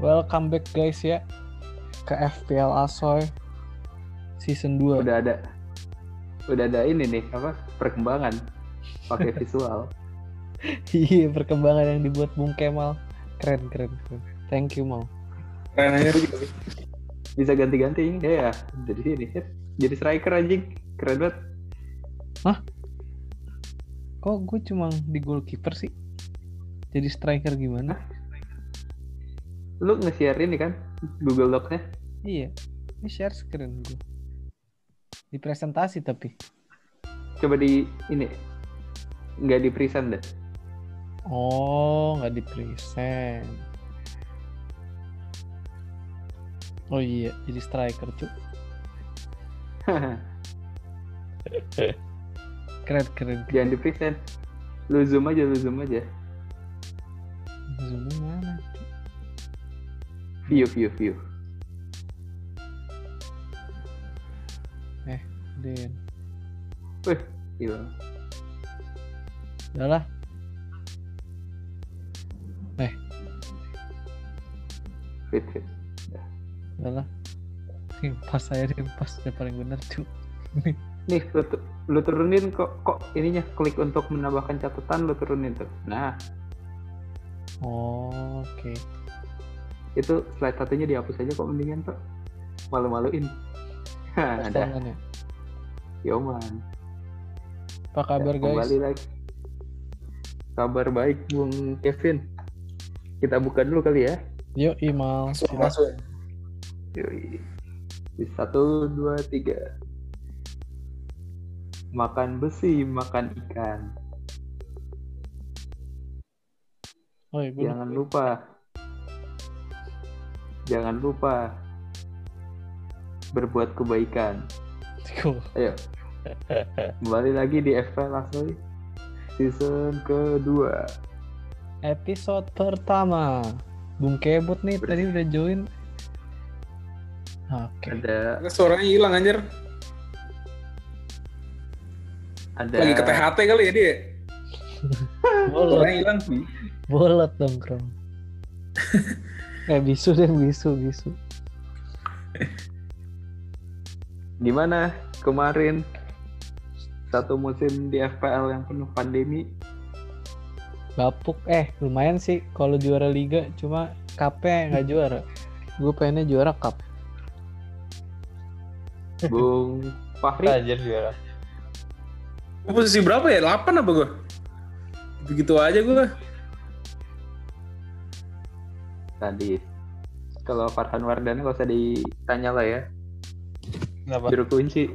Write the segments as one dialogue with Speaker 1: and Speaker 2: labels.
Speaker 1: Welcome back guys ya ke FPL Asoy season 2.
Speaker 2: udah ada udah ada ini nih apa perkembangan pakai visual
Speaker 1: Iya, perkembangan yang dibuat Bung Kemal. Keren, keren, keren. Thank you, Mau.
Speaker 3: Keren aja lu juga. Bi.
Speaker 2: bisa ganti-ganti ini ya jadi ini jadi striker anjing keren banget
Speaker 1: Kok gue cuma di goalkeeper sih? Jadi striker gimana?
Speaker 2: lu nge-share ini kan Google Docs-nya
Speaker 1: Iya. Ini share screen gue. Di presentasi tapi.
Speaker 2: coba di ini nggak di present deh
Speaker 1: Oh, nggak di present. Oh iya, jadi striker cu. Keren, keren. keren.
Speaker 2: jangan di present lu zoom aja lu zoom aja
Speaker 1: Zoom mana?
Speaker 2: view view view
Speaker 1: Den.
Speaker 2: wih gila
Speaker 1: Udah lah.
Speaker 2: fit fit
Speaker 1: Udah lah. Yang pas saya yang pas yang paling bener cu.
Speaker 2: nih lu, tu- lu turunin kok kok ininya klik untuk menambahkan catatan lu turunin tuh nah
Speaker 1: Oh, Oke.
Speaker 2: itu slide satunya dihapus aja kok mendingan tuh malu-maluin Hah,
Speaker 1: Pas
Speaker 2: ada
Speaker 1: tangan ya.
Speaker 2: Yoman
Speaker 1: Apa kabar
Speaker 2: Ya,
Speaker 1: guys?
Speaker 2: Kembali lagi. Kabar baik Bung Kevin. Kita buka dulu kali ya.
Speaker 1: Yuk, Imal.
Speaker 3: Masuk,
Speaker 1: Silakan.
Speaker 3: masuk.
Speaker 2: Yoi. Di Satu, dua, tiga. Makan besi, makan ikan.
Speaker 1: Oi, gue
Speaker 2: Jangan lupa. Jangan lupa. Berbuat kebaikan. Ayo. Kembali lagi di FPL Lasoy. Season kedua.
Speaker 1: Episode pertama. Bung Kebut nih tadi udah join. Oke.
Speaker 2: Ada
Speaker 3: Suaranya hilang anjir.
Speaker 2: ada
Speaker 3: Lagi ke THT kali ya dia.
Speaker 1: Bolot,
Speaker 3: Suaranya hilang. Bi.
Speaker 1: bolot dong, Krom. eh, bisu deh, bisu, bisu.
Speaker 2: gimana kemarin satu musim di FPL yang penuh pandemi
Speaker 1: Bapuk. Eh, lumayan sih kalau juara liga, cuma cupnya nggak juara. Gue pengennya juara cup.
Speaker 2: Bung Fahri
Speaker 4: Anjir juara.
Speaker 3: Gua posisi berapa ya? 8 apa gua? Begitu aja gua.
Speaker 2: tadi kalau Farhan Wardana gak usah ditanya lah ya
Speaker 4: Kenapa?
Speaker 2: juru kunci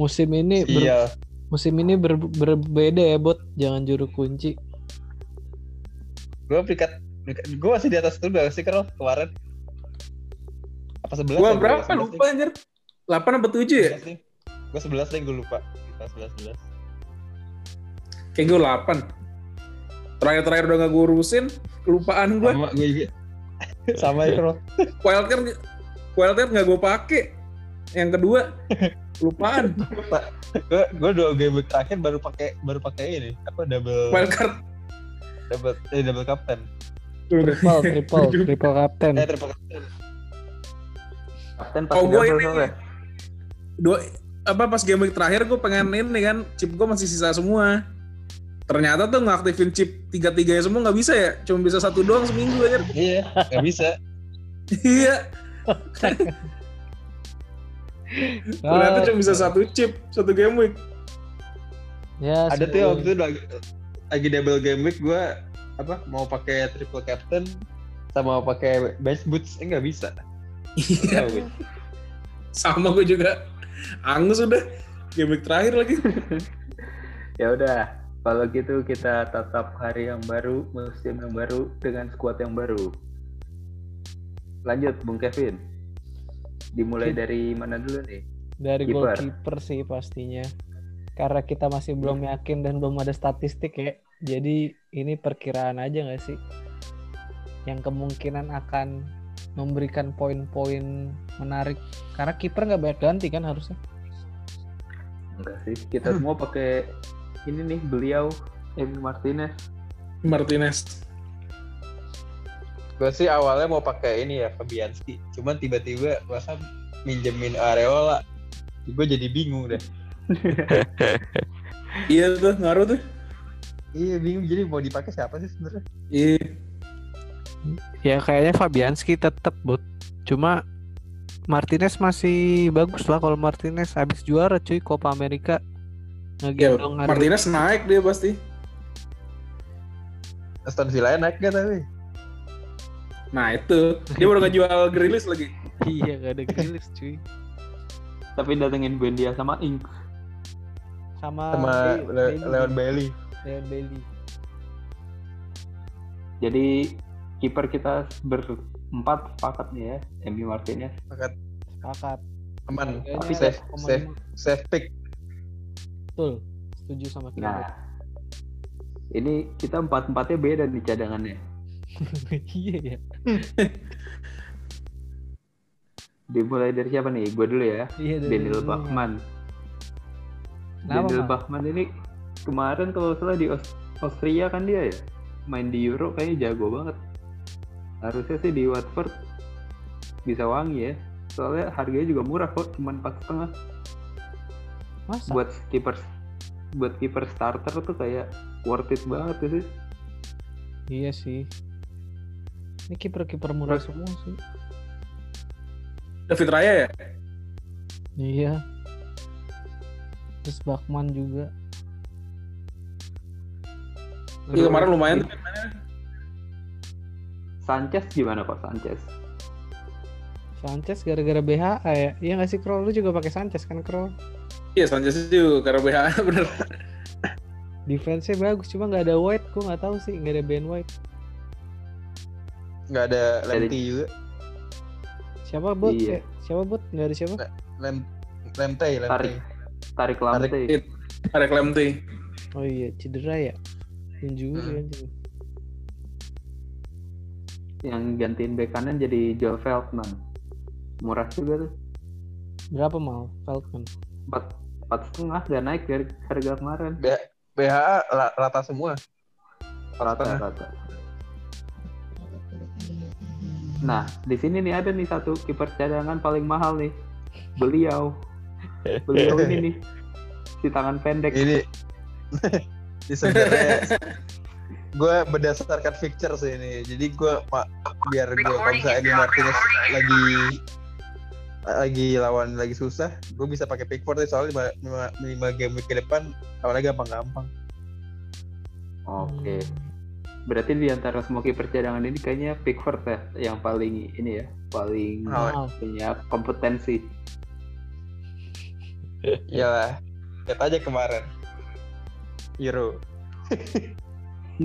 Speaker 1: Musim ini ber-
Speaker 4: Iya.
Speaker 1: musim ini ber- berbeda ya, Bot. Jangan juru kunci.
Speaker 4: Gue peringkat, peringkat gue masih di atas lu gak sih Karl kemarin? Apa sebelas?
Speaker 3: Gua berapa lupa anjir. 8 apa 7 ya?
Speaker 4: Gue sebelas deh gue lupa. Kita sebelas sebelas.
Speaker 3: Kayak gua 8. Terakhir-terakhir udah gak gua urusin, kelupaan gua.
Speaker 4: Sama gue juga. Sama ya Karl.
Speaker 3: Wildcard Wildcard gak gua pakai. Yang kedua, kelupaan.
Speaker 4: Gue gue dua game week terakhir baru pakai baru pakai ini apa double
Speaker 3: Wildcard.
Speaker 4: double eh, double captain.
Speaker 1: Triple, triple, triple captain.
Speaker 4: Eh triple captain.
Speaker 2: kapten pasti
Speaker 3: Oh, gua
Speaker 2: double
Speaker 3: ini.
Speaker 2: soalnya.
Speaker 3: dua apa pas game week terakhir gue pengen ini kan chip gue masih sisa semua ternyata tuh ngaktifin chip tiga tiganya semua nggak bisa ya cuma bisa satu doang seminggu aja
Speaker 4: Iya. Gak bisa.
Speaker 3: iya
Speaker 1: Ah.
Speaker 3: ternyata cuma bisa satu chip satu game week
Speaker 1: Ya,
Speaker 4: Ada tuh
Speaker 1: sebelum-
Speaker 4: waktu itu lagi, lagi double game week gue apa mau pakai triple captain sama pakai bench boots eh nggak bisa.
Speaker 3: iya
Speaker 4: Nggak bisa.
Speaker 3: sama gue juga angus udah game week terakhir lagi
Speaker 2: ya udah kalau gitu kita tatap hari yang baru musim yang baru dengan skuad yang baru lanjut Bung Kevin dimulai dari mana dulu nih
Speaker 1: dari
Speaker 2: Kiper.
Speaker 1: goalkeeper sih pastinya karena kita masih belum yakin dan belum ada statistik ya jadi ini perkiraan aja nggak sih yang kemungkinan akan memberikan poin-poin menarik karena kiper nggak banyak ganti kan harusnya
Speaker 2: enggak sih kita semua pakai ini nih beliau Emi Martinez
Speaker 3: Martinez
Speaker 4: Gue sih awalnya mau pakai ini ya Fabianski, cuman tiba-tiba masa minjemin Areola, gue jadi bingung deh.
Speaker 3: Iya tuh ngaruh tuh.
Speaker 4: Iya bingung jadi mau dipakai siapa sih sebenarnya?
Speaker 3: Iya.
Speaker 1: Ya kayaknya Fabianski tetep but. Cuma Martinez masih bagus lah kalau Martinez habis juara cuy Copa America.
Speaker 3: Ya,
Speaker 1: Ngegendong hari-
Speaker 3: Martinez naik dia pasti.
Speaker 4: Aston Villa naik gak tapi?
Speaker 3: Nah itu dia baru ngejual Grilis lagi.
Speaker 1: Iya gak ada Grilis cuy.
Speaker 2: Tapi datengin Buendia sama Ing.
Speaker 1: Sama,
Speaker 4: Sama
Speaker 1: Be-
Speaker 4: Le-
Speaker 1: Bailey.
Speaker 4: Leon Bailey.
Speaker 1: Leon Bailey.
Speaker 2: Jadi kiper kita berempat sepakat nih ya, Emi Martinez.
Speaker 4: Sepakat.
Speaker 1: Sepakat.
Speaker 4: Aman.
Speaker 1: Harganya
Speaker 4: Tapi safe,
Speaker 1: 1,5.
Speaker 4: safe, safe pick.
Speaker 1: Betul. Setuju sama kita.
Speaker 2: Nah, ini kita empat empatnya beda nih cadangannya.
Speaker 1: Iya ya.
Speaker 2: Dimulai dari siapa nih? Gue dulu ya.
Speaker 1: Iya dari
Speaker 2: Daniel
Speaker 1: dulunya.
Speaker 2: Bachman.
Speaker 1: Kenapa,
Speaker 2: Daniel
Speaker 1: Bang?
Speaker 2: Bachmann ini kemarin kalau nggak salah di Aus- Austria kan dia ya main di Euro kayaknya jago banget. Harusnya sih di Watford bisa wangi ya. Soalnya harganya juga murah kok, cuma empat setengah
Speaker 1: Masa?
Speaker 2: buat kiper buat kiper starter tuh kayak worth it banget tuh sih.
Speaker 1: Iya sih. Ini kiper-kiper murah semua sih.
Speaker 3: David Raya ya.
Speaker 1: Iya. Terus Bakman juga.
Speaker 3: Iya kemarin lumayan. tuh.
Speaker 2: Sanchez gimana kok Sanchez?
Speaker 1: Sanchez gara-gara BH ya. Iya nggak sih Kroll lu juga pakai Sanchez kan Kroll.
Speaker 3: Iya Sanchez juga karena BH bener.
Speaker 1: Defense-nya bagus cuma nggak ada White, gua nggak tahu sih nggak ada Ben White.
Speaker 4: Nggak ada Lemty juga.
Speaker 1: Siapa bot? Eh,
Speaker 2: Iya.
Speaker 1: Siapa bot? Nggak ada siapa?
Speaker 4: Lem, Lemtey, Lemtey.
Speaker 2: Tarik tarik lantai.
Speaker 3: Ada klaim tuh.
Speaker 1: Oh iya, cedera ya. Injuri
Speaker 4: Hmm.
Speaker 1: anjing.
Speaker 2: Yang gantiin bek kanan jadi Joel Feldman. Murah juga tuh.
Speaker 1: Berapa mal Feldman?
Speaker 2: empat empat setengah gak naik dari harga kemarin
Speaker 4: BHA la- rata semua.
Speaker 2: rata rata nah di sini nih ada nih satu kiper cadangan paling mahal nih beliau beliau ini nih si tangan pendek
Speaker 4: Ini ini sebenarnya gue berdasarkan picture sih ini. Jadi gue biar gue kalau misalnya Emi Martinez lagi lagi lawan lagi susah, gue bisa pakai Pickford sih soalnya lima, lima, lima game week ke depan awalnya gampang-gampang.
Speaker 2: oke berarti di antara semua kiper cadangan ini kayaknya Pickford ya yang paling ini ya paling
Speaker 1: Mal.
Speaker 4: Oh.
Speaker 2: punya kompetensi
Speaker 4: Iyalah, lihat aja kemarin. Euro.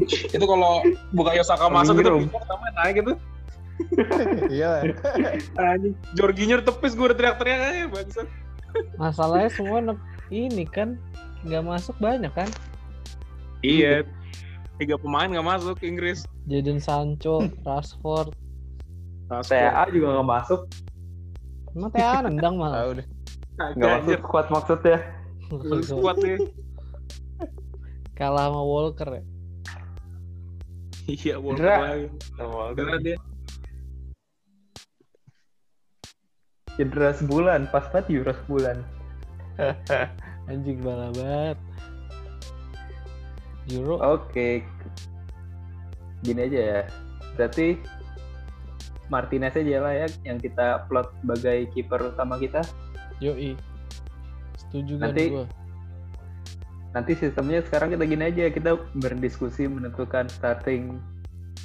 Speaker 3: Itu kalau buka Yosaka masuk itu
Speaker 2: Minum.
Speaker 3: bingung sama naik itu.
Speaker 4: Iyalah.
Speaker 3: Anjing. Jorginho tepis gue udah teriak-teriak aja bangsa.
Speaker 1: Masalahnya semua nep- ini kan nggak masuk banyak kan?
Speaker 3: Iya. Tiga pemain nggak masuk Inggris.
Speaker 1: Jadon Sancho, Rashford,
Speaker 3: Saya
Speaker 2: TA juga nggak masuk
Speaker 1: emang TA nendang malah.
Speaker 4: Tahu deh.
Speaker 2: nggak masuk squad maksudnya
Speaker 3: Kuat ya.
Speaker 1: Kalah sama Walker ya.
Speaker 3: Iya, Walker
Speaker 4: Cedera.
Speaker 3: lagi. Cedera dia.
Speaker 2: cedera sebulan pas banget Euro sebulan
Speaker 1: Anjing bala banget. Euro
Speaker 2: Oh. Oke. Gini aja ya. Berarti Martinez aja lah ya yang kita plot sebagai kiper utama kita.
Speaker 1: Yoi. Setuju kan
Speaker 2: Nanti-
Speaker 1: gua?
Speaker 2: Nanti sistemnya sekarang kita gini aja, kita berdiskusi menentukan starting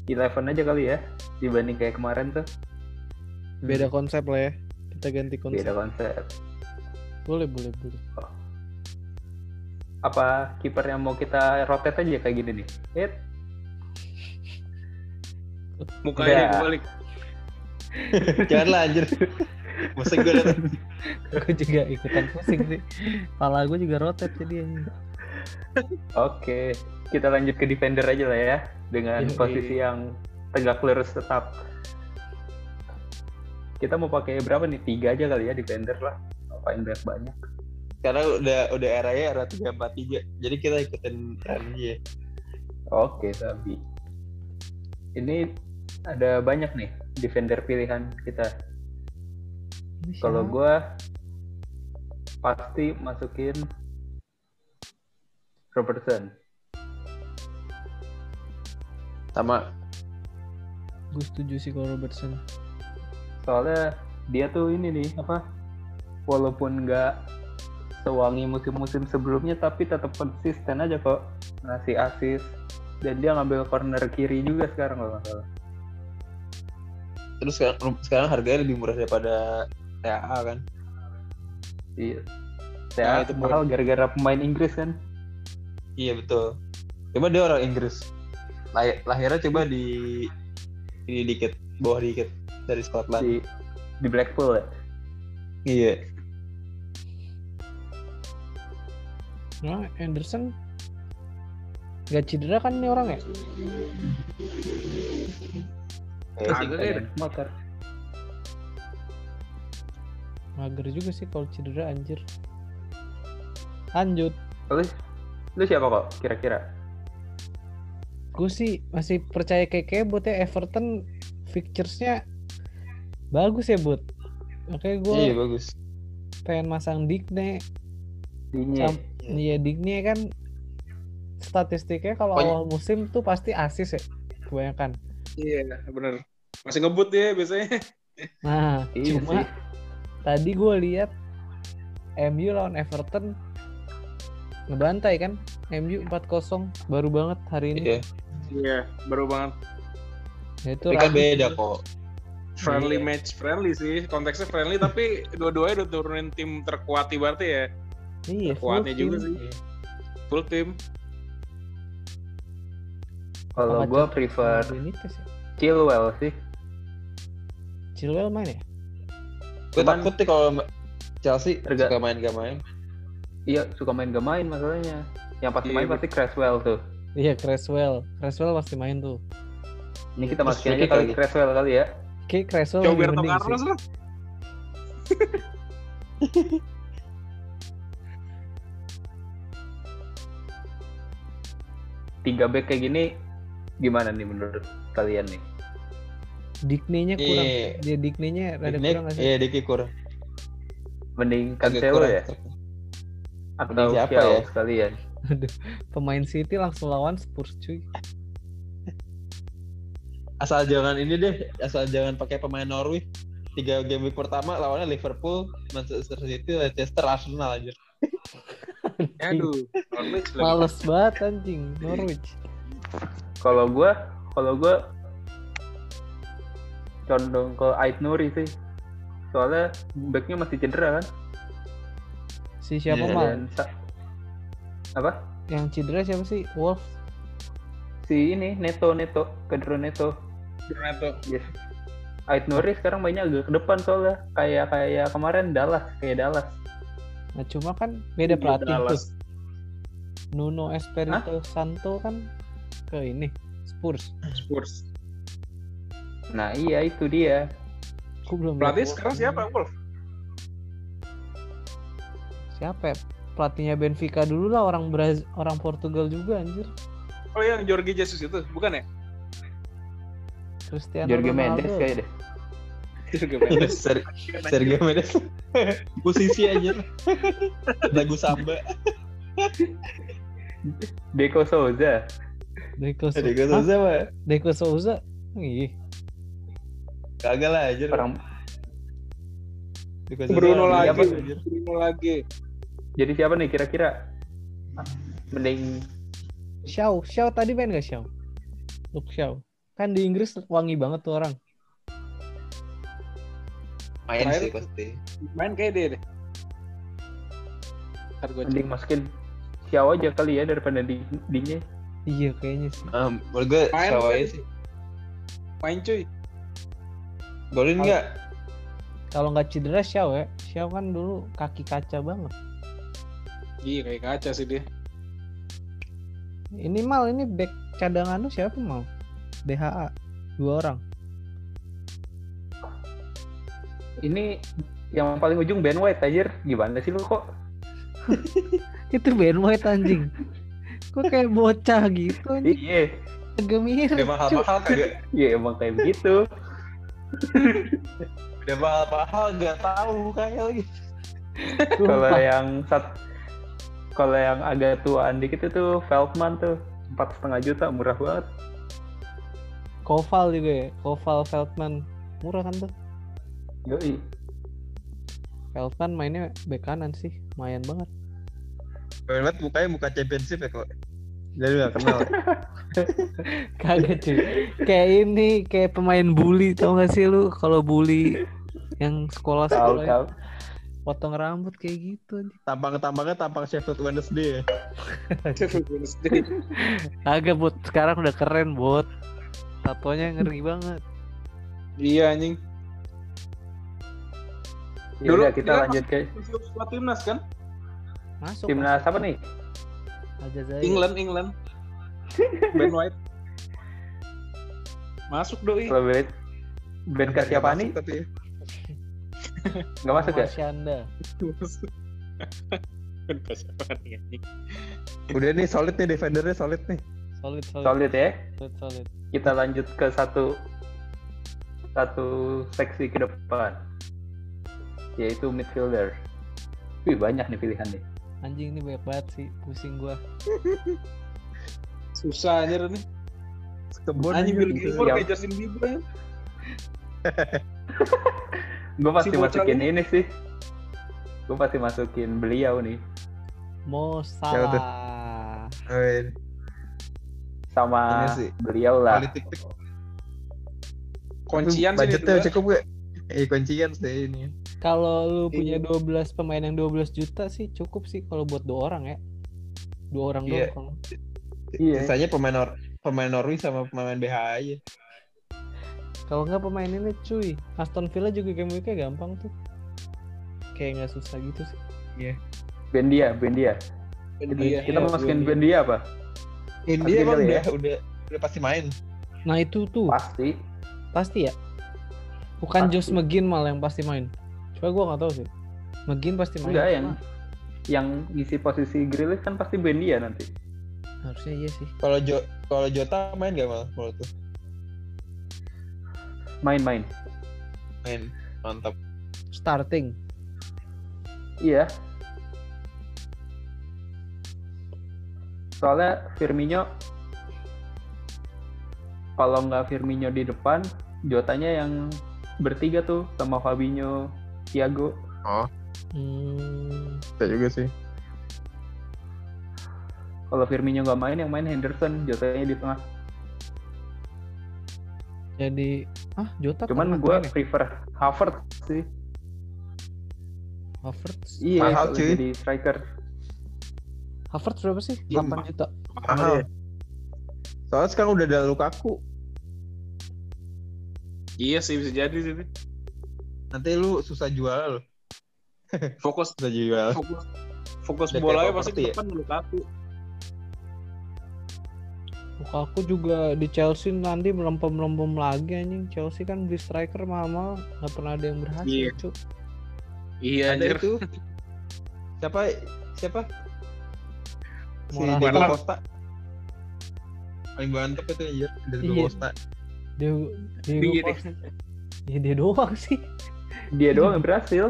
Speaker 2: 11 aja kali ya dibanding kayak kemarin tuh.
Speaker 1: Beda konsep lah ya. Kita ganti konsep.
Speaker 2: Beda konsep.
Speaker 1: Boleh, boleh, boleh.
Speaker 2: Apa kiper yang mau kita rotate aja kayak gini nih? Hit.
Speaker 3: Mukanya
Speaker 2: Udah.
Speaker 3: balik.
Speaker 4: Janganlah anjir. Masa gue udah
Speaker 1: Gue juga ikutan pusing sih. Kepala gue juga rotet jadi anjing.
Speaker 2: Oke, kita lanjut ke defender aja lah ya dengan
Speaker 1: Yoi.
Speaker 2: posisi yang tegak lurus tetap. Kita mau pakai berapa nih? Tiga aja kali ya defender lah. Ngapain banyak banyak?
Speaker 4: karena udah udah eranya era tiga empat tiga jadi kita ikutin tren dia
Speaker 2: Oke, tapi ini ada banyak nih defender pilihan kita.
Speaker 1: Ini siapa?
Speaker 2: Kalau gua pasti masukin Robertson.
Speaker 4: sama
Speaker 1: gue setuju sih kalau Robertson.
Speaker 2: Soalnya dia tuh ini nih apa? Walaupun nggak sewangi musim-musim sebelumnya tapi tetap konsisten aja kok ngasih asis dan dia ngambil corner kiri juga sekarang kalau nggak salah.
Speaker 4: terus sekarang, sekarang harganya lebih murah daripada TAA kan
Speaker 2: Iya.
Speaker 4: Nah,
Speaker 2: Saya
Speaker 4: itu
Speaker 2: mahal gara-gara pemain Inggris kan.
Speaker 4: iya betul cuma dia orang Inggris Lahir, lahirnya coba di ini dikit bawah dikit dari Scotland
Speaker 2: di di Blackpool ya.
Speaker 4: iya
Speaker 1: Nah, Anderson nggak cedera kan ini orang ya?
Speaker 4: Kayaknya Iya, sih,
Speaker 2: Antai,
Speaker 4: kayaknya.
Speaker 2: motor.
Speaker 1: Mager juga sih kalau cedera anjir. Lanjut.
Speaker 2: Lu, lu siapa kok kira-kira?
Speaker 1: Gue sih masih percaya keke buat ya Everton fixturesnya bagus ya buat. Makanya gue
Speaker 4: iya bagus
Speaker 1: pengen masang Digne.
Speaker 2: Dinye.
Speaker 1: Sam- Iya Digne kan statistiknya kalau
Speaker 4: Pokoknya-
Speaker 1: awal musim tuh pasti asis ya kebanyakan.
Speaker 3: Iya, bener. Masih ngebut dia biasanya.
Speaker 1: Nah,
Speaker 2: Iya
Speaker 1: cuma
Speaker 2: sih.
Speaker 1: tadi gue lihat MU lawan Everton ngebantai kan MU 4-0 baru banget hari ini
Speaker 4: iya
Speaker 3: Iya, baru banget.
Speaker 1: Nah, itu
Speaker 4: tapi kan
Speaker 1: Rashford-
Speaker 4: beda kok
Speaker 3: Friendly
Speaker 1: Iya.
Speaker 3: match, friendly sih. Konteksnya friendly, tapi dua-duanya udah turunin tim terkuat berarti ya.
Speaker 1: iya, full
Speaker 3: Kuatnya
Speaker 1: team.
Speaker 3: juga sih. Full tim.
Speaker 2: Kalau
Speaker 1: Sama
Speaker 2: gue
Speaker 1: Cil-
Speaker 2: prefer
Speaker 1: sama Benitez ya.
Speaker 2: Chilwell sih.
Speaker 1: Chilwell main ya
Speaker 4: gue
Speaker 2: Cuman-
Speaker 4: takut nih kalau Chelsea
Speaker 2: Harga-
Speaker 4: suka main gak main
Speaker 2: Iya suka main gak main masalahnya. Yang pasti
Speaker 3: Iya,
Speaker 2: main
Speaker 3: bener.
Speaker 2: pasti Creswell tuh.
Speaker 1: iya Creswell Creswell pasti main tuh
Speaker 2: Ini kita
Speaker 4: Terus gitu.
Speaker 2: masukin aja
Speaker 4: free kick
Speaker 2: kali
Speaker 4: lagi.
Speaker 2: Creswell kali ya.
Speaker 1: Oke, Creswell
Speaker 3: Coba
Speaker 1: lebih
Speaker 3: Roberto
Speaker 1: mending
Speaker 3: Carlos
Speaker 1: sih.
Speaker 3: lah.
Speaker 2: Tiga back kayak gini gimana nih menurut kalian nih?
Speaker 1: Digne-nya kurang
Speaker 4: Iya.
Speaker 1: dia Digne-nya rada
Speaker 4: Digne-
Speaker 1: kurang nggak sih
Speaker 4: iya Diki kurang
Speaker 2: Mending
Speaker 4: Agak
Speaker 2: Cancelo
Speaker 4: kurang.
Speaker 2: ya? Atau
Speaker 4: Mending siapa
Speaker 2: Shaw
Speaker 4: ya?
Speaker 2: sekalian?
Speaker 1: pemain City langsung lawan Spurs cuy
Speaker 4: asal jangan ini deh asal jangan pakai pemain Norwich tiga game week pertama lawannya Liverpool Manchester City Leicester Arsenal aja
Speaker 3: Aduh, Norwich lagi.
Speaker 1: males banget anjing Norwich
Speaker 2: Kalau gue, kalau gue condong ke Ait Nuri sih. Soalnya backnya masih cedera kan?
Speaker 1: si siapa
Speaker 4: Iya.
Speaker 1: mal
Speaker 2: Dan sa- apa?
Speaker 1: yang cedera siapa sih Wolf
Speaker 2: si ini Neto Neto Pedro Neto
Speaker 3: Renato.
Speaker 2: yes Ait Nuri sekarang mainnya agak ke depan soalnya kayak kayak kemarin Dallas kayak Dallas
Speaker 1: nah cuma kan beda pelatih tuh
Speaker 3: Iya, Dallas.
Speaker 1: Nuno Espirito Santo kan ke ini Spurs.
Speaker 3: Spurs.
Speaker 2: nah iya itu dia
Speaker 1: Aku belum
Speaker 3: Pelatih
Speaker 1: lihat.
Speaker 3: sekarang siapa, Wolf?
Speaker 1: Siapa? ya? Pelatihnya Benfica dulu lah orang Braz orang Portugal juga anjir.
Speaker 3: Oh yang Jorge Jesus itu, bukan ya?
Speaker 1: Cristiano
Speaker 2: Jorge
Speaker 1: Ronaldo.
Speaker 2: Mendes kayak deh
Speaker 3: Jorge
Speaker 2: Iya,
Speaker 3: Mendes.
Speaker 4: Ser- Sergio Mendes posisi aja lagu samba
Speaker 2: Deco Souza
Speaker 1: Eh, Deco Souza.
Speaker 4: Diego Souza mah
Speaker 1: Deco Souza. Ih,
Speaker 4: kagak lah aja
Speaker 2: orang
Speaker 4: Diego Souza
Speaker 3: Bruno lagi,
Speaker 4: mah Iya, apa?
Speaker 3: Bruno lagi.
Speaker 2: jadi siapa nih kira-kira mending
Speaker 1: Shaw, Shaw tadi main gak Shaw? Luke Shaw. Kan di Inggris wangi banget tuh orang.
Speaker 4: main
Speaker 3: Main.
Speaker 4: sih pasti
Speaker 3: Main kayak dia deh. Ntar gue cek.
Speaker 2: mending masukin Xiao aja kali ya daripada di dinya
Speaker 1: Iya kayaknya sih.
Speaker 4: um, menurut gue
Speaker 3: Main.
Speaker 4: Shawahi sih
Speaker 3: Main cuy.
Speaker 4: golin nggak
Speaker 1: Kalau nggak cedera Shaw ya. Shaw kan dulu kaki kaca banget.
Speaker 3: Iya kayak kaca sih dia.
Speaker 1: Ini mal ini back cadangan lu siapa mal? BHA dua orang.
Speaker 2: ini yang paling ujung Ben White anjir gimana sih lu kok
Speaker 1: itu Ben White anjing kok kayak bocah gitu anjing
Speaker 2: iya
Speaker 1: Agak mirip.
Speaker 4: Udah mahal-mahal kagak.
Speaker 2: Ya emang kayak begitu.
Speaker 4: Udah mahal-mahal gak tahu kayak lagi.
Speaker 2: Kalau yang sat kalau yang agak tuaan dikit itu Feldman tuh empat setengah juta murah banget.
Speaker 1: Koval juga ya. Koval Feldman. Murah kan tuh.
Speaker 2: Yoi.
Speaker 1: Feldman mainnya bek kanan sih. Lumayan banget.
Speaker 4: Keren banget mukanya muka championship ya kok. Jadi gak kenal. ya.
Speaker 1: Kagak cuy. Kayak ini kayak pemain bully tau gak sih lu kalau bully yang
Speaker 2: Tahu
Speaker 1: sekolah-sekolah ya,
Speaker 2: tahu.
Speaker 1: potong rambut kayak gitu anjing.
Speaker 4: Tampang-tampangnya tampang Sheffield Wednesday ya.
Speaker 1: Agak bot sekarang udah keren bot. Tatonya ngeri banget.
Speaker 3: iya anjing.
Speaker 2: Ya
Speaker 3: Dulu
Speaker 2: udah kita
Speaker 3: dia-
Speaker 2: lanjut ke
Speaker 3: Buat timnas kan?
Speaker 1: Masuk.
Speaker 2: timnas apa nih?
Speaker 1: Aljazair.
Speaker 3: England, England. Ben White. Masuk doi.
Speaker 2: Kalau Ben Ben Kasyapani
Speaker 4: Masuk Tapi
Speaker 2: nggak masuk ya?
Speaker 1: Marsyanda.
Speaker 3: Ben Kasyapani anjing.
Speaker 4: udah nih solid nih defendernya solid nih.
Speaker 1: Solid, solid,
Speaker 2: Solid ya.
Speaker 1: solid, solid.
Speaker 2: Kita lanjut ke satu satu seksi ke depan yaitu midfielder. Wih banyak nih pilihan nih.
Speaker 1: Anjing ini banyak banget sih, pusing gua.
Speaker 3: Susah anjir nih.
Speaker 4: Kebun gitu.
Speaker 3: Anjing
Speaker 2: Iya,
Speaker 3: Bill Gilmore
Speaker 2: Siap.
Speaker 3: kayak Justin
Speaker 2: Iya,
Speaker 3: Bieber.
Speaker 2: Gue pasti
Speaker 3: Si bocah
Speaker 2: masukin ini sih. Gue pasti masukin beliau nih
Speaker 1: Mo
Speaker 4: tuh?
Speaker 1: Salah.
Speaker 2: sama
Speaker 4: Ini sih.
Speaker 2: beliau lah.
Speaker 4: Politik tik.
Speaker 3: Kuncian sih
Speaker 4: Budgetnya
Speaker 3: ini dua.
Speaker 4: cukup gak? Eh kuncian sih ini.
Speaker 1: Kalau lu punya
Speaker 3: Iya.
Speaker 1: 12 pemain yang 12 juta sih cukup sih kalau buat dua orang ya. Dua orang
Speaker 4: Iya.
Speaker 1: doang.
Speaker 2: Iya.
Speaker 4: Sisanya pemain Nor pemain Norwich sama pemain BH aja.
Speaker 1: Kalau nggak pemain ini cuy, Aston Villa juga game weeknya gampang tuh. Kayak nggak susah gitu sih.
Speaker 4: Iya.
Speaker 2: Bendia, Bendia.
Speaker 3: Dia,
Speaker 2: Kita
Speaker 3: ya,
Speaker 2: masukin
Speaker 4: iya.
Speaker 3: dia.
Speaker 2: Bendia apa?
Speaker 4: Ini
Speaker 2: Tapi
Speaker 4: emang
Speaker 2: kali ya.
Speaker 4: udah udah udah pasti main.
Speaker 1: Nah itu tuh
Speaker 2: Pasti.
Speaker 1: pasti ya. Bukan
Speaker 2: Pasti.
Speaker 1: Josh McGinn malah yang pasti main. Coba gua nggak tahu sih. McGinn pasti main.
Speaker 2: Enggak yang yang isi posisi Grealish kan pasti Bendia nanti.
Speaker 1: Harusnya iya sih.
Speaker 4: Kalau Jo kalau Jota main gak mal? Kalau tuh
Speaker 2: Main-main.
Speaker 4: main mantap.
Speaker 1: Starting.
Speaker 2: Iya. Soalnya Firmino kalau nggak Firmino di depan, Jotanya yang bertiga tuh sama Fabinho, Thiago.
Speaker 1: Hmm,
Speaker 4: Kita juga sih.
Speaker 2: Kalau Firmino nggak main, yang main Henderson, Jotanya di tengah.
Speaker 1: jadi ah Jota tengah
Speaker 2: Cuman gue
Speaker 1: main ya?
Speaker 2: prefer Havertz sih.
Speaker 1: Havertz.
Speaker 2: Iya,
Speaker 4: Mahal,
Speaker 2: kalau
Speaker 4: cuy.
Speaker 2: jadi striker.
Speaker 1: Havertz berapa sih?
Speaker 4: Iya,
Speaker 1: 8 juta.
Speaker 2: Iya.
Speaker 4: Mahal. Soalnya sekarang udah ada Lukaku.
Speaker 3: Iya sih bisa jadi sih. ini.
Speaker 4: Nanti lu susah jual lu.
Speaker 3: Fokus
Speaker 4: Susah jual.
Speaker 3: fokus fokus
Speaker 4: Udah
Speaker 3: bolanya
Speaker 4: kayak
Speaker 3: pasti
Speaker 4: properti
Speaker 3: di
Speaker 4: ya?
Speaker 3: depan dulu aku.
Speaker 1: Lukaku juga di Chelsea nanti melempem-lempem lagi anjing. Chelsea kan beli striker mahal-mahal, nggak pernah ada yang berhasil,
Speaker 3: Iya.
Speaker 1: cu.
Speaker 3: Iya
Speaker 4: Ada
Speaker 3: anjir.
Speaker 4: itu. Siapa siapa? Si
Speaker 1: Morata.
Speaker 4: Diego Costa. Paling mantep itu ya Diego
Speaker 1: Iya.
Speaker 4: Costa.
Speaker 1: Dia dia
Speaker 3: Iya,
Speaker 1: doang. Ya, dia doang sih. Iya.
Speaker 2: Dia doang yang berhasil.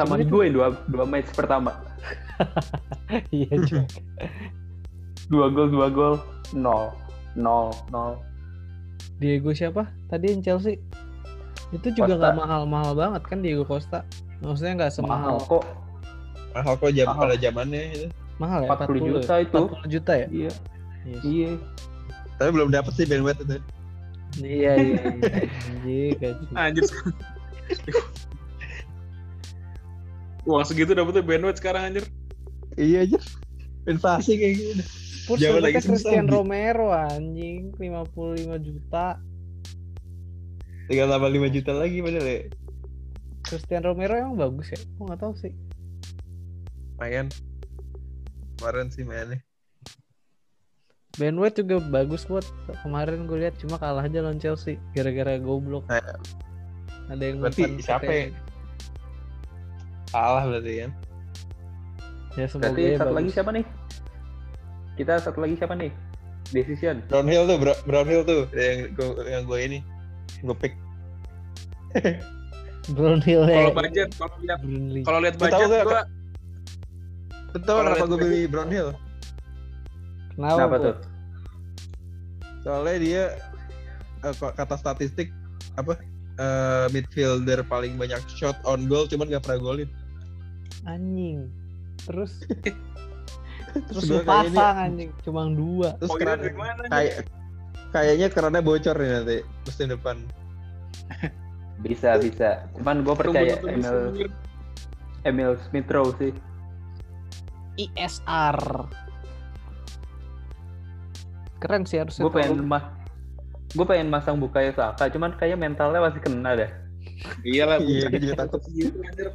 Speaker 2: Sama
Speaker 1: Sebenarnya
Speaker 2: gue dua, dua match pertama.
Speaker 1: Iya, cu.
Speaker 2: Dua gol, dua gol. Nol. Nol, nol.
Speaker 1: Diego siapa? Tadi yang Chelsea. Itu juga
Speaker 2: Costa.
Speaker 1: nggak mahal-mahal banget kan Diego Costa. Maksudnya nggak
Speaker 2: Mahal
Speaker 1: semahal
Speaker 2: kok.
Speaker 4: Mahal kok jam
Speaker 2: Mahal.
Speaker 4: pada zamannya gitu. itu.
Speaker 1: mahal ya
Speaker 2: 40 juta
Speaker 1: ya?
Speaker 2: itu.
Speaker 1: 40 juta ya?
Speaker 2: Iya,
Speaker 1: Iya. sih.
Speaker 2: iya.
Speaker 4: Tapi belum dapet sih Ben White itu.
Speaker 1: Iya, iya, iya. Anjing, gitu. gaji.
Speaker 3: Anjir. Uang segitu dapetnya Ben White sekarang anjir.
Speaker 4: Iya aja. Inflasi kayak gitu.
Speaker 1: Spurs
Speaker 4: Jawa
Speaker 1: dapetnya
Speaker 4: lagi susah,
Speaker 1: Christian
Speaker 4: Bi.
Speaker 1: Romero anjing 55 juta.
Speaker 4: Tinggal tambah 5 juta lagi padahal ya.
Speaker 1: Christian Romero emang bagus ya? Gua nggak tahu sih.
Speaker 4: Main. Kemarin sih mainnya.
Speaker 1: Ben White juga bagus buat kemarin gue lihat cuma kalah aja lawan Chelsea gara-gara goblok.
Speaker 4: Nah,
Speaker 1: Ada yang Ya,
Speaker 4: berarti
Speaker 1: umpan
Speaker 4: siapa ya?
Speaker 1: pakai-
Speaker 4: Kalah berarti kan.
Speaker 1: Ya semoga
Speaker 2: Berarti
Speaker 1: ya
Speaker 2: satu lagi
Speaker 1: bagus.
Speaker 2: siapa nih? Kita satu lagi siapa nih? Decision.
Speaker 4: Brownhill tuh, Bro- Brownhill tuh yang gue yang gue ini gue pick.
Speaker 1: Brownhill ya.
Speaker 3: Kalau budget, kalau lihat
Speaker 1: Brownhill.
Speaker 3: kalau lihat
Speaker 4: Iya. Lu tahu
Speaker 3: budget
Speaker 4: nggak,
Speaker 3: gua
Speaker 4: Lu tau
Speaker 3: Kalau
Speaker 4: kenapa
Speaker 3: lihat
Speaker 4: gue
Speaker 3: gue-
Speaker 4: pilih Brownhill?
Speaker 1: Kenapa,
Speaker 2: Kenapa
Speaker 1: tuh?
Speaker 2: tuh?
Speaker 4: Soalnya dia eh, kok kata statistik apa eh, midfielder paling banyak shot on goal cuman gak pernah golin.
Speaker 1: Anjing. Terus terus
Speaker 4: gua
Speaker 1: lu
Speaker 4: kayak ini-
Speaker 1: pasang anjing cuma dua.
Speaker 4: Terus
Speaker 3: poinnya
Speaker 4: karena
Speaker 3: dari mana? nih?
Speaker 4: kayak kayaknya karena bocor nih nanti musim depan.
Speaker 2: Bisa, bisa. Cuman gue percaya
Speaker 3: Tunggu satu
Speaker 2: Emil
Speaker 3: musim.
Speaker 2: Emil Smith Rowe sih.
Speaker 1: ISR. Keren sih harusnya.
Speaker 2: Gue pengen
Speaker 1: tuh.
Speaker 2: mas gue pengen masang Bukayo Saka, cuman kayak mentalnya masih kena dah.
Speaker 3: Iya lah,
Speaker 4: Iya, gue juga takut.
Speaker 3: gitu, anjir.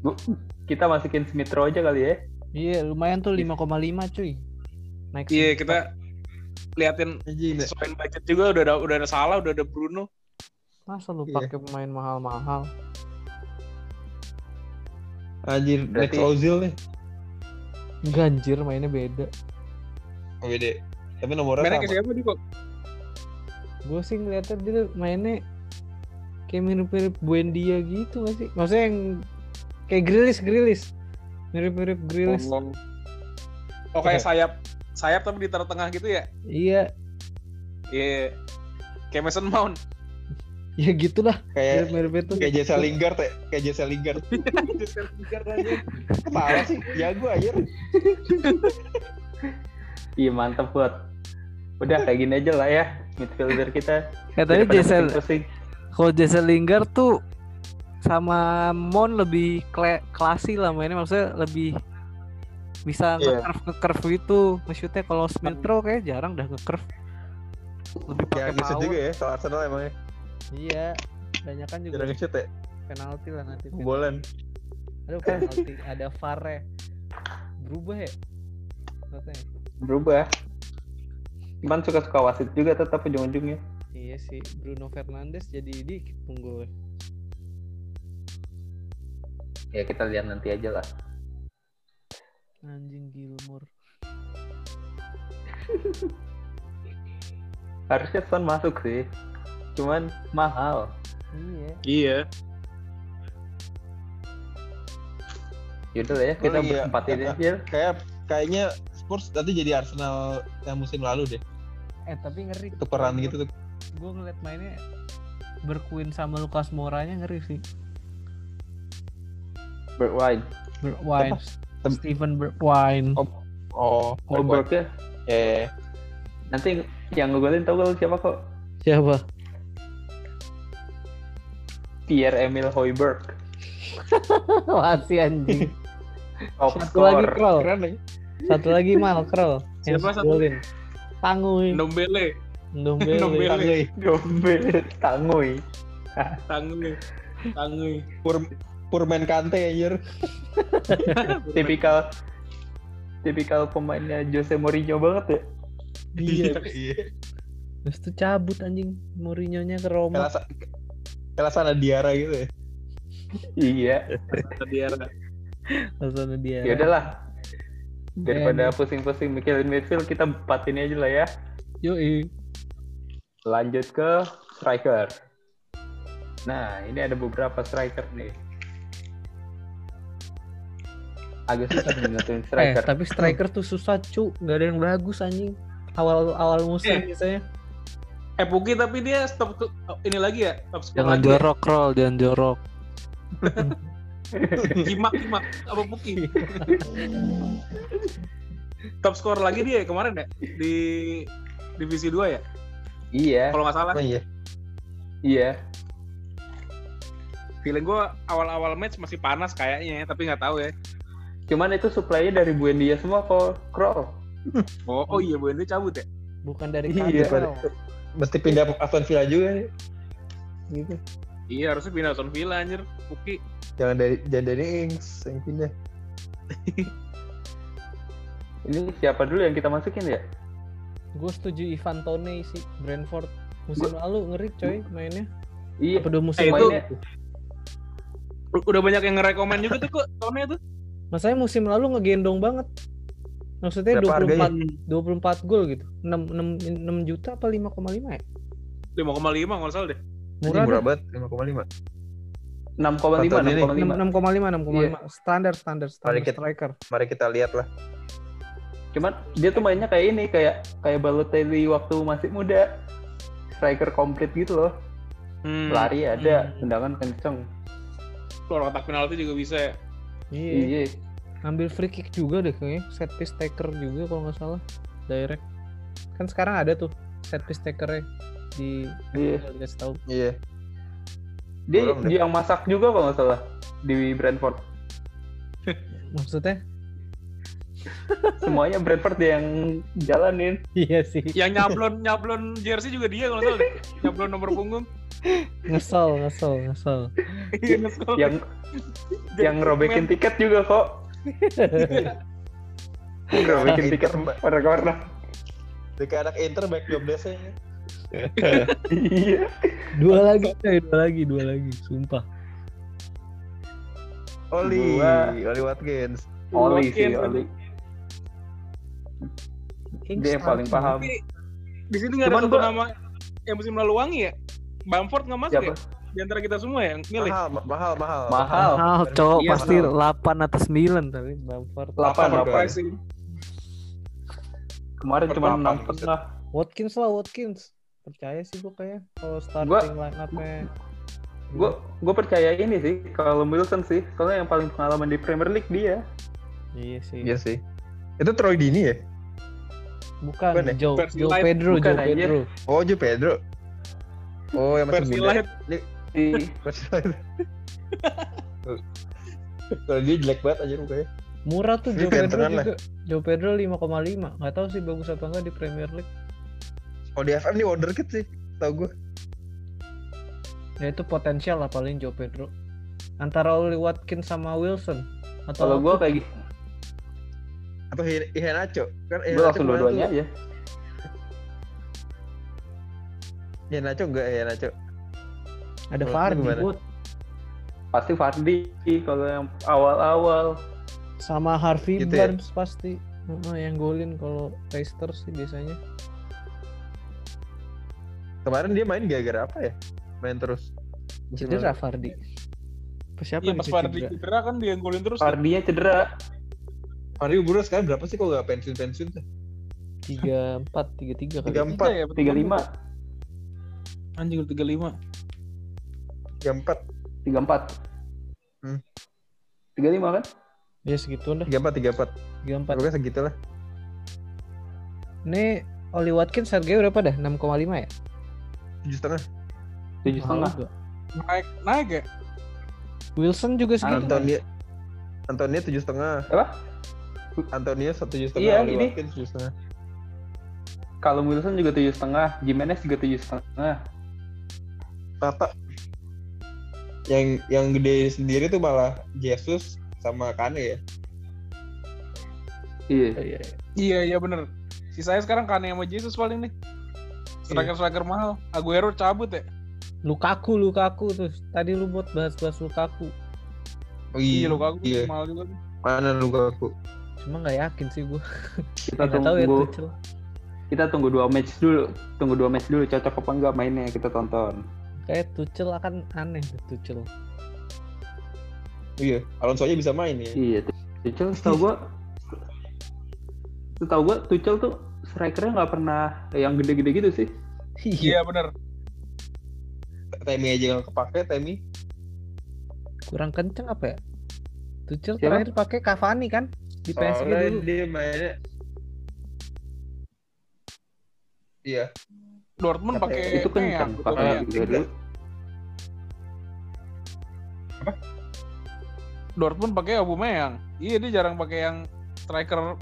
Speaker 2: Gua- kita masukin Smith Rowe aja kali ya.
Speaker 1: Iya, lumayan tuh 5,5 cuy. Naik
Speaker 3: Iya,
Speaker 1: sedikit.
Speaker 3: kita liatin
Speaker 4: Anjing, dah.
Speaker 3: sesuaiin budget juga udah ada udah ada salah, udah ada Bruno.
Speaker 1: Masa lu
Speaker 4: Iya.
Speaker 1: pakai pemain mahal-mahal?
Speaker 4: anjir Dex
Speaker 2: Berarti-
Speaker 4: Ozil nih.
Speaker 1: Ganjir mainnya beda.
Speaker 4: Oh, gede. Tapi nomornya
Speaker 3: Mainnya ke
Speaker 4: sama.
Speaker 3: siapa nih kok?
Speaker 1: Gue sih ngeliatnya dia mainnya kayak mirip-mirip Buendia gitu gak sih? Maksudnya yang kayak grilis grilis mirip-mirip grilis
Speaker 3: Oh kayak sayap sayap tapi di tengah gitu ya?
Speaker 1: iya
Speaker 3: Iya. Kayak Mason Mount.
Speaker 1: ya gitulah
Speaker 4: Kayak
Speaker 1: mirip-mirip itu
Speaker 4: kayak Jesse Lingard ya, kayak Jesse Lingard. Parah sih, jago aja.
Speaker 2: Iya mantep buat. Udah kayak gini aja lah ya midfielder kita.
Speaker 1: katanya
Speaker 2: Daripada
Speaker 1: Jason
Speaker 2: pusing-pusing.
Speaker 1: kalau Jason Lingard tuh sama Mon lebih kle- klasi lah mainnya maksudnya lebih bisa
Speaker 4: Iya.
Speaker 1: nge-curve nge-curve gitu nge-shootnya kalau Smith Rowe kayak jarang dah nge-curve lebih
Speaker 4: Kayak
Speaker 1: pakai
Speaker 4: nge-shoot
Speaker 1: power
Speaker 4: juga ya, kalau Arsenal emangnya.
Speaker 1: iya banyak kan juga
Speaker 4: Jarang nge-shoot ya,
Speaker 1: penalti lah nanti
Speaker 4: bolan.
Speaker 1: aduh penalti ada VAR-nya berubah ya katanya
Speaker 2: Berubah. Cuman suka-suka wasit juga tetap ujung-ujungnya.
Speaker 1: Iya sih, Bruno Fernandes jadi dikit unggul.
Speaker 2: Ya kita lihat nanti aja lah.
Speaker 1: Anjing Gilmore.
Speaker 2: Harusnya Son masuk sih. Cuman mahal.
Speaker 1: Iya.
Speaker 3: Iya.
Speaker 2: Yaudah lah ya, kita
Speaker 4: Oh, iya.
Speaker 2: berempatin aja.
Speaker 4: Kayak kayaknya Spurs nanti jadi Arsenal yang musim lalu deh.
Speaker 1: Eh tapi ngeri.
Speaker 2: Oh.
Speaker 4: Tukeran gitu tuh.
Speaker 1: Gue ngeliat mainnya berkuin sama Lukas Moranya ngeri sih.
Speaker 2: Berwine.
Speaker 1: Berwine.
Speaker 4: Tem-
Speaker 1: Steven Berwine.
Speaker 4: Oh, Oh,
Speaker 2: Holberg ya.
Speaker 4: Eh,
Speaker 2: Nanti yang ngegolin tau gak lu siapa kok?
Speaker 1: Siapa?
Speaker 2: Pierre Emil Hoiberg.
Speaker 1: Masih anjing.
Speaker 2: Top
Speaker 1: Satu lagi
Speaker 2: scorer.
Speaker 1: Krol.
Speaker 4: keren lagi.
Speaker 1: Satu lagi Mal Krol. Yang
Speaker 3: Siapa satu?
Speaker 1: golin. Tangui.
Speaker 3: Nombele,
Speaker 1: Ndombele.
Speaker 3: Ndombele.
Speaker 2: iya.
Speaker 4: Tangguy.
Speaker 2: Dombel tangui.
Speaker 3: tangui, tangui.
Speaker 4: Pur Purman Kante anjir.
Speaker 2: Tipikal tipikal pemainnya Jose Mourinho banget ya.
Speaker 1: Iya.
Speaker 4: Iya.
Speaker 1: Terus tuh cabut anjing Mourinho-nya ke Roma.
Speaker 4: Kelasa- Kelasana Diara gitu ya.
Speaker 2: Iya.
Speaker 3: Tadi era.
Speaker 1: Rasanya dia.
Speaker 2: Ya udahlah. Daripada pusing-pusing mikirin midfield, kita empatin aja lah ya.
Speaker 1: Yoi.
Speaker 2: Lanjut ke striker. Nah, ini ada beberapa striker nih. Agak susah nih nentuin
Speaker 1: Eh,
Speaker 2: striker.
Speaker 1: tapi striker tuh susah cu, nggak ada yang bagus anjing. Awal awal musim
Speaker 3: Eh,
Speaker 1: biasanya.
Speaker 3: Eh Puki tapi dia stop ke, oh, ini lagi ya? Stop skor lagi.
Speaker 1: jorok roll, jangan jorok.
Speaker 3: Kimak, kimak. Apa Puki? Top skor lagi dia ya kemarin ya? Di divisi 2 ya?
Speaker 2: Iya,
Speaker 3: Kalau nggak salah.
Speaker 4: Oh iya.
Speaker 2: iya.
Speaker 3: Feeling gue awal-awal match masih panas kayaknya, tapi nggak tahu ya.
Speaker 2: Cuman itu supply-nya dari Buendia semua kok, Kroll.
Speaker 3: Oh, oh iya, Bu Ende cabut ya?
Speaker 1: Bukan dari
Speaker 2: Iya.
Speaker 1: Cantwell.
Speaker 4: Mesti pindah ke Aston Villa juga nih.
Speaker 1: gitu.
Speaker 3: Iya, harusnya pindah Aston Villa anjir. Puki.
Speaker 4: Jangan dari jangan dari Ings yang pindah.
Speaker 2: Ini siapa dulu yang kita masukin ya?
Speaker 1: Gue setuju Ivan Toney sih, Brentford musim lalu ngeri coy mainnya.
Speaker 2: Iya,
Speaker 1: Apa dua musim
Speaker 3: Eh, itu-
Speaker 1: lalu?
Speaker 2: mainnya
Speaker 3: U- Udah banyak yang ngerekomen juga tuh kok, tahunnya tuh.
Speaker 1: Masanya musim lalu ngegendong banget. Maksudnya
Speaker 4: Berapa
Speaker 2: Hmm.
Speaker 1: 24 24 gol gitu. 6 6 6 juta apa 5,5 ya?
Speaker 3: 5,5 kalau nggak salah deh.
Speaker 1: Murah,
Speaker 4: murah
Speaker 1: dong.
Speaker 4: banget 5,5
Speaker 2: 6,5
Speaker 4: Tahun ini.
Speaker 1: 6,5
Speaker 2: 6,5
Speaker 1: 6,5
Speaker 2: Iya.
Speaker 1: standar standar standar
Speaker 4: Paling kita-
Speaker 1: striker.
Speaker 4: mari kita lihat lah
Speaker 2: Cuman dia tuh mainnya kayak ini, kayak kayak Balotelli waktu masih muda. Striker komplit gitu loh.
Speaker 3: Hmm.
Speaker 2: Lari ya. ada,
Speaker 3: Hmm.
Speaker 2: tendangan kenceng.
Speaker 3: Keluar kotak penalti juga bisa ya.
Speaker 1: Iya.
Speaker 2: Iya.
Speaker 1: Ambil free kick juga deh kayaknya. Set piece taker juga kalau nggak salah. Direct. Kan sekarang ada tuh set piece takernya di
Speaker 2: Iya.
Speaker 1: Nggak dikasih tahu.
Speaker 4: iya
Speaker 2: Dia,
Speaker 4: Kurang deh.
Speaker 2: dia yang masak juga kalau nggak salah di Brentford.
Speaker 1: Maksudnya?
Speaker 2: Semuanya Brentford dia yang jalanin.
Speaker 1: Iya sih.
Speaker 3: Yang nyablon nyablon jersey juga dia kalau nggak salah deh. Nyablon nomor punggung.
Speaker 1: Ngesel, ngesel, ngesel.
Speaker 3: Iya, ngesel.
Speaker 2: Yang yang robekin tiket juga kok. robekin tiket
Speaker 4: Inter, Nah, Mbak.
Speaker 2: warna-warna.
Speaker 4: Dekat anak Inter back 12 nya
Speaker 2: Iya.
Speaker 1: dua lagi, coy, dua lagi, dua lagi. Sumpah.
Speaker 4: Oli
Speaker 2: Gua-
Speaker 4: Oli Watkins
Speaker 2: Oli sih,
Speaker 3: Robekin.
Speaker 2: Oli. Dia yang paling paham.
Speaker 3: Tapi di sini nggak ada
Speaker 2: Cuman
Speaker 3: satu
Speaker 2: gua-
Speaker 3: nama yang musim lalu wangi ya. Bamford nggak masuk
Speaker 2: Siapa? Ah,
Speaker 3: ya? Di antara kita semua ya, yang milih.
Speaker 4: mahal ma- mahal mahal
Speaker 2: Mahal.
Speaker 1: Mahal, Ah, cowok
Speaker 3: Iya,
Speaker 1: pasti
Speaker 4: mahal.
Speaker 1: 8 atau 9 tapi Bamford.
Speaker 2: Lapan,
Speaker 4: Apa,
Speaker 2: lapan.
Speaker 3: Pricing.
Speaker 2: Kemarin cuma
Speaker 4: Berapa?
Speaker 2: enam setengah.
Speaker 4: Iya.
Speaker 1: Watkins lah Watkins. Percaya sih gue kayak kalau starting
Speaker 2: Gua-
Speaker 1: line up-nya.
Speaker 2: Gue gue percaya ini sih kalau Wilson sih, soalnya yang paling pengalaman di Premier League dia.
Speaker 1: Iya sih.
Speaker 4: iya sih itu Troy Dini ya
Speaker 1: Bukan,
Speaker 4: Bukan ya?
Speaker 1: Joe,
Speaker 3: Versi
Speaker 1: Joe
Speaker 3: live.
Speaker 1: Pedro,
Speaker 2: Bukan,
Speaker 1: Joe
Speaker 2: anjir.
Speaker 1: Pedro.
Speaker 4: oh Ju Pedro oh yang masih
Speaker 3: Versi
Speaker 4: muda
Speaker 3: light.
Speaker 2: Si
Speaker 4: Persila kalau dia jelek banget aja mukanya
Speaker 1: Murah tuh
Speaker 4: Ini
Speaker 1: Joe Pedro
Speaker 4: veteran
Speaker 1: juga. Joe Pedro 5,5. Gak tahu sih bagus apa enggak di Premier League.
Speaker 4: kalau di FM nih wonderkid sih tau gue
Speaker 1: Ya itu potensial lah paling Joe Pedro. Antara Oli Watkins sama Wilson. Atau
Speaker 2: kalau gue kayak gitu,
Speaker 4: atau Hi- Iheanacho kan
Speaker 2: gue langsung
Speaker 4: kemarin
Speaker 2: dua-duanya
Speaker 4: tuh-
Speaker 2: aja.
Speaker 4: Iheanacho enggak Iheanacho
Speaker 1: ada
Speaker 4: Menurut lu
Speaker 1: Vardy
Speaker 4: gimana?
Speaker 1: Bud.
Speaker 2: Pasti Fardi kalau yang awal-awal.
Speaker 1: sama Harvey
Speaker 4: Gitu ya?
Speaker 1: Barnes pasti. Heeh, yang golin kalau Leicester sih biasanya.
Speaker 4: kemarin dia main gara-gara apa ya main terus Musim
Speaker 1: Cedera Vardy. Apa Siapa
Speaker 3: Iya,
Speaker 1: yang
Speaker 3: pas
Speaker 1: bisa
Speaker 3: Fardi
Speaker 1: cedera?
Speaker 3: cedera kan dia yang golin terus.
Speaker 2: Fardinya cedera.
Speaker 4: lalu. Mario Bro sekarang berapa sih kok gak pensiun-pensiun tuh?
Speaker 1: Tiga empat tiga tiga kali.
Speaker 4: Tiga
Speaker 3: Tiga
Speaker 4: empat,
Speaker 3: ya, betul.
Speaker 2: 35,
Speaker 3: Anjing 35.
Speaker 4: tiga empat,
Speaker 2: 34.
Speaker 4: Hmm.
Speaker 2: 35 kan?
Speaker 1: Ya segitu dah.
Speaker 4: tiga empat, tiga empat.
Speaker 1: Tiga empat.
Speaker 4: Pokoknya segitulah.
Speaker 1: Nih Oli Watkins harganya berapa dah? 6,5 ya?
Speaker 4: Tujuh setengah.
Speaker 2: 7 setengah.
Speaker 1: Mahal juga.
Speaker 3: Naik naik ya?
Speaker 1: Wilson juga segitu.
Speaker 2: Anton.
Speaker 4: Antonia, Antonia tujuh setengah.
Speaker 2: Apa?
Speaker 4: Antonia satu
Speaker 2: Iya,
Speaker 4: tujuh setengah. Oli
Speaker 2: ini.
Speaker 4: Watkins tujuh setengah.
Speaker 2: Kalau Wilson juga 7 setengah, Jimenez juga 7 setengah.
Speaker 4: Tata. Yang yang gede sendiri tuh malah Jesus sama Kane ya.
Speaker 2: Iya.
Speaker 1: Iya.
Speaker 3: Iya iya bener. Sisanya sekarang Kane sama Jesus paling nih.
Speaker 2: Iya.
Speaker 3: Striker striker mahal. Aguero cabut ya.
Speaker 1: Lukaku, Lukaku tuh. Tadi lu buat bahas-bahas Lukaku.
Speaker 4: Oh,
Speaker 3: Iya lu aku
Speaker 4: Iya.
Speaker 3: mahal juga. nih.
Speaker 4: Mana luka aku?
Speaker 1: Cuma nggak yakin sih gua.
Speaker 2: Kita
Speaker 1: Nggak tahu ya
Speaker 2: tunggu
Speaker 1: Tuchel.
Speaker 2: kita tunggu dua match dulu. Tunggu dua match dulu cocok apa enggak mainnya kita tonton.
Speaker 1: Kayak Tuchel akan aneh tuh Tuchel.
Speaker 4: Iya, Alonso aja bisa main ya.
Speaker 2: Iya, Tu- Tuchel setahu gua setahu gua Tuchel tuh strikernya nggak pernah yang gede-gede gitu sih.
Speaker 3: Iya bener.
Speaker 4: Temi aja nggak kepake, Temi.
Speaker 1: Kurang kenceng apa ya? Tuchel
Speaker 2: Siapa?
Speaker 1: terakhir pakai Cavani kan di PSG
Speaker 4: Soalnya
Speaker 1: dulu.
Speaker 4: dia mainnya. Iya,
Speaker 3: Dortmund
Speaker 4: Tapi
Speaker 3: pakai
Speaker 2: itu kan kencang, Iya.
Speaker 3: Nea,
Speaker 2: pakai
Speaker 3: Nea.
Speaker 2: juga dulu.
Speaker 3: Dortmund pakai Aubameyang. Iya dia jarang pakai yang striker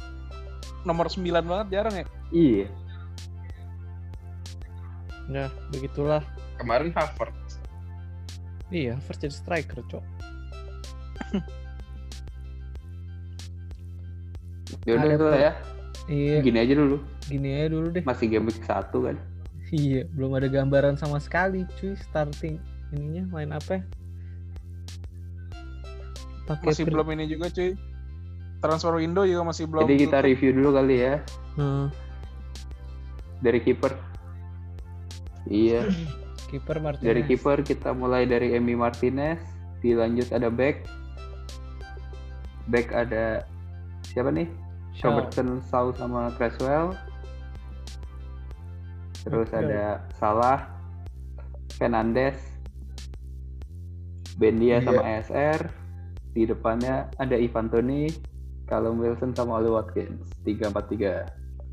Speaker 3: nomor 9 banget jarang ya.
Speaker 2: Iya.
Speaker 1: Nah, begitulah.
Speaker 4: kemarin Harvard.
Speaker 1: Iya, Havertz jadi striker, Cok.
Speaker 2: Ya udah
Speaker 1: Ada
Speaker 2: itu lah ya.
Speaker 1: Iya,
Speaker 2: Gini aja dulu.
Speaker 1: gini aja dulu deh.
Speaker 2: Masih game week 1 kan.
Speaker 1: Iya, belum ada gambaran sama sekali, cuy. Starting ininya main apa? Pakai
Speaker 3: Masih
Speaker 1: pri-
Speaker 3: belum ini juga cuy. transfer window juga masih belum.
Speaker 2: Jadi kita review dulu kali ya
Speaker 1: Hmm,
Speaker 2: dari kiper. Iya,
Speaker 1: kiper Martinez.
Speaker 2: dari kiper kita mulai dari Emi Martinez, dilanjut ada back. Back ada siapa nih?
Speaker 1: Shaw.
Speaker 2: Robertson, Shaw sama Creswell. Terus
Speaker 1: Oke.
Speaker 2: ada Salah, Fernandes, Bendia sama ESR. Di depannya ada Ivan Toni, Callum Wilson sama Oli Watkins. 3-4-3.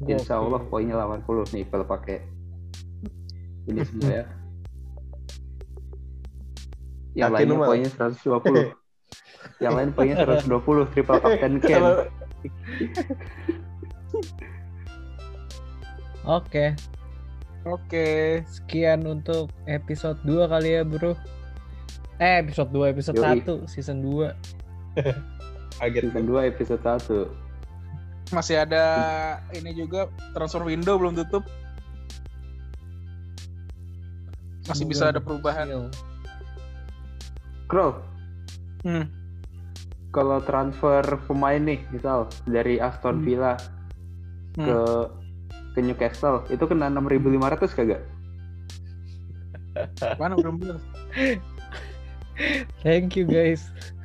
Speaker 2: Insya
Speaker 1: Gokil.
Speaker 2: Allah poinnya 80 nih kalau pakai ini semua ya. Yang
Speaker 4: Yakin lu,
Speaker 2: lainnya
Speaker 4: Mal?
Speaker 2: poinnya 120. Yang lain poinnya 120 triple captain Ken.
Speaker 4: Kalau
Speaker 1: Oke,
Speaker 3: Oke.
Speaker 1: sekian untuk episode 2 kali ya, Bro. Eh, episode 2, episode
Speaker 2: Yoi.
Speaker 1: 1, season 2.
Speaker 4: kaget
Speaker 2: Season 2 episode 1.
Speaker 3: Masih ada ini juga transfer window belum tutup. Masih bisa ada perubahan.
Speaker 2: Iya. Krol,
Speaker 3: Hmm.
Speaker 2: kalau transfer pemain nih, misal dari
Speaker 1: Hmm.
Speaker 2: Aston Villa
Speaker 3: Hmm.
Speaker 2: ke ke Newcastle, itu kena 6.500 kagak?
Speaker 3: Mana belum bener.
Speaker 1: Thank you guys.